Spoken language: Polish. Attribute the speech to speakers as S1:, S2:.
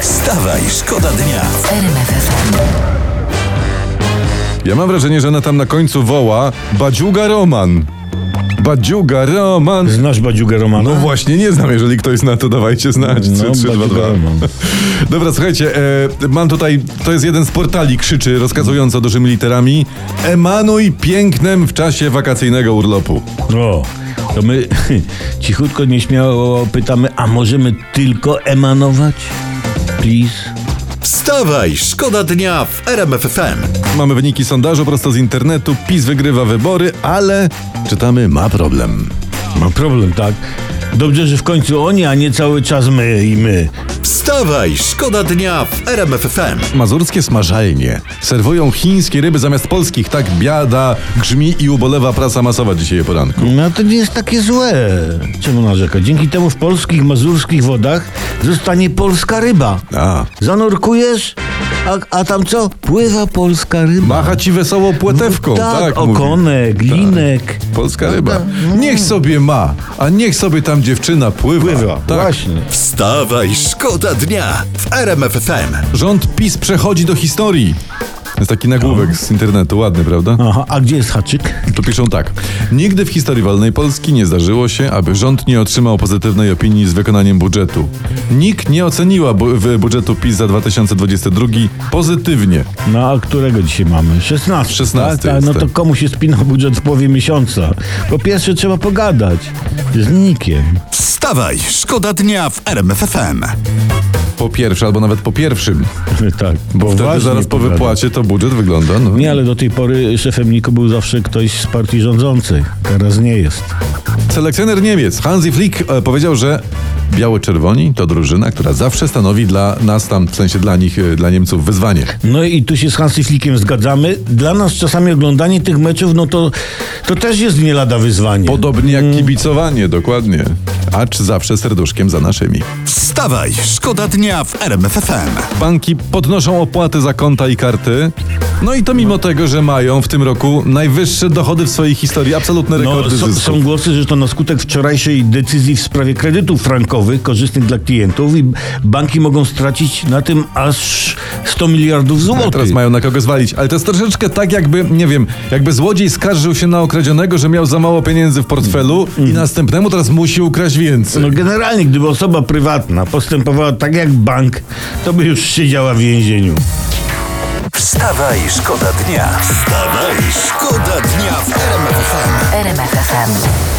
S1: Wstawaj, szkoda dnia.
S2: Ja mam wrażenie, że ona tam na końcu woła Badziuga Roman. Badziuga Roman.
S3: Znasz Badziugę Romana?
S2: No właśnie, nie znam, jeżeli ktoś na to dawajcie znać.
S3: No,
S2: 3, 3, 2, 2.
S3: Badziuga Roman.
S2: Dobra, słuchajcie, e, mam tutaj, to jest jeden z portali, krzyczy rozkazująco dużymi literami Emanuj pięknem w czasie wakacyjnego urlopu.
S3: O, to my cichutko, nieśmiało pytamy, a możemy tylko emanować? Please?
S1: Wstawaj, szkoda dnia w RMF FM.
S2: Mamy wyniki sondażu prosto z internetu, PiS wygrywa wybory, ale czytamy ma problem.
S3: Mam problem, tak? Dobrze, że w końcu oni, a nie cały czas my i my.
S1: Wstawaj, szkoda dnia w RMF FM.
S2: Mazurskie smażalnie serwują chińskie ryby zamiast polskich. Tak biada, grzmi i ubolewa prasa masowa dzisiaj o poranku.
S3: No to nie jest takie złe. Czemu narzekać? Dzięki temu w polskich, mazurskich wodach zostanie polska ryba.
S2: A.
S3: Zanurkujesz, a, a tam co? Pływa polska ryba.
S2: Macha ci wesoło płetewką.
S3: tak, No,
S2: tak mówi.
S3: okonek, linek.
S2: Polska ryba. Niech sobie ma, a niech sobie tam dziewczyna pływa.
S3: Pływa,
S2: Tak.
S3: właśnie.
S1: Wstawaj, szkoda dnia w RMF FM.
S2: Rząd PiS przechodzi do historii. To jest taki
S3: No.
S2: nagłówek z internetu, ładny, prawda?
S3: Aha, a gdzie jest haczyk?
S2: Tu piszą tak. Nigdy w historii wolnej Polski nie zdarzyło się, aby rząd nie otrzymał pozytywnej opinii z wykonaniem budżetu. NIK nie oceniła bu- w- budżetu PiS za 2022 pozytywnie.
S3: No, a którego dzisiaj mamy? 16.
S2: 16
S3: Tak,
S2: jest,
S3: no to
S2: tak.
S3: komu się spina budżet w połowie miesiąca? Po pierwsze trzeba pogadać z nikiem.
S1: Wstawaj, szkoda dnia w RMF FM.
S2: Po pierwsze, albo nawet po pierwszym.
S3: tak,
S2: Bo wtedy
S3: właśnie
S2: zaraz po
S3: pogadać.
S2: wypłacie to budżet wygląda. No.
S3: Nie, ale do tej pory szefem NIK-u był zawsze ktoś z partii rządzącej. Teraz nie jest.
S2: Selekcjoner Niemiec Hansi Flick e, powiedział, że Biało-Czerwoni to drużyna, która zawsze stanowi dla nas tam, w sensie dla nich, e, dla Niemców wyzwanie.
S3: No i tu się z Hansi Flickiem zgadzamy. Dla nas czasami oglądanie tych meczów, no to, to też jest nie lada wyzwanie.
S2: Podobnie
S3: Mm.
S2: jak kibicowanie, dokładnie. Acz zawsze serduszkiem za naszymi.
S1: Wstawaj, szkoda dnia w RMF FM.
S2: Banki podnoszą opłaty za konta i karty. No i to mimo tego, że mają w tym roku najwyższe dochody w swojej historii, absolutne
S3: No,
S2: rekordy
S3: są,
S2: zysków.
S3: są głosy, że to na skutek wczorajszej decyzji w sprawie kredytów frankowych korzystnych dla klientów i banki mogą stracić na tym aż 100 miliardów
S2: No,
S3: złotych.
S2: Teraz mają na kogo zwalić, ale to jest troszeczkę tak jakby, nie wiem, jakby złodziej skarżył się na okradzionego, że miał za mało pieniędzy w portfelu
S3: Mm.
S2: i następnemu teraz musi ukraść więcej.
S3: No generalnie, gdyby osoba prywatna postępowała tak jak bank, to by już siedziała w więzieniu.
S1: Wstawaj, szkoda dnia. Wstawaj, szkoda dnia w RMF FM.
S4: RMFFM.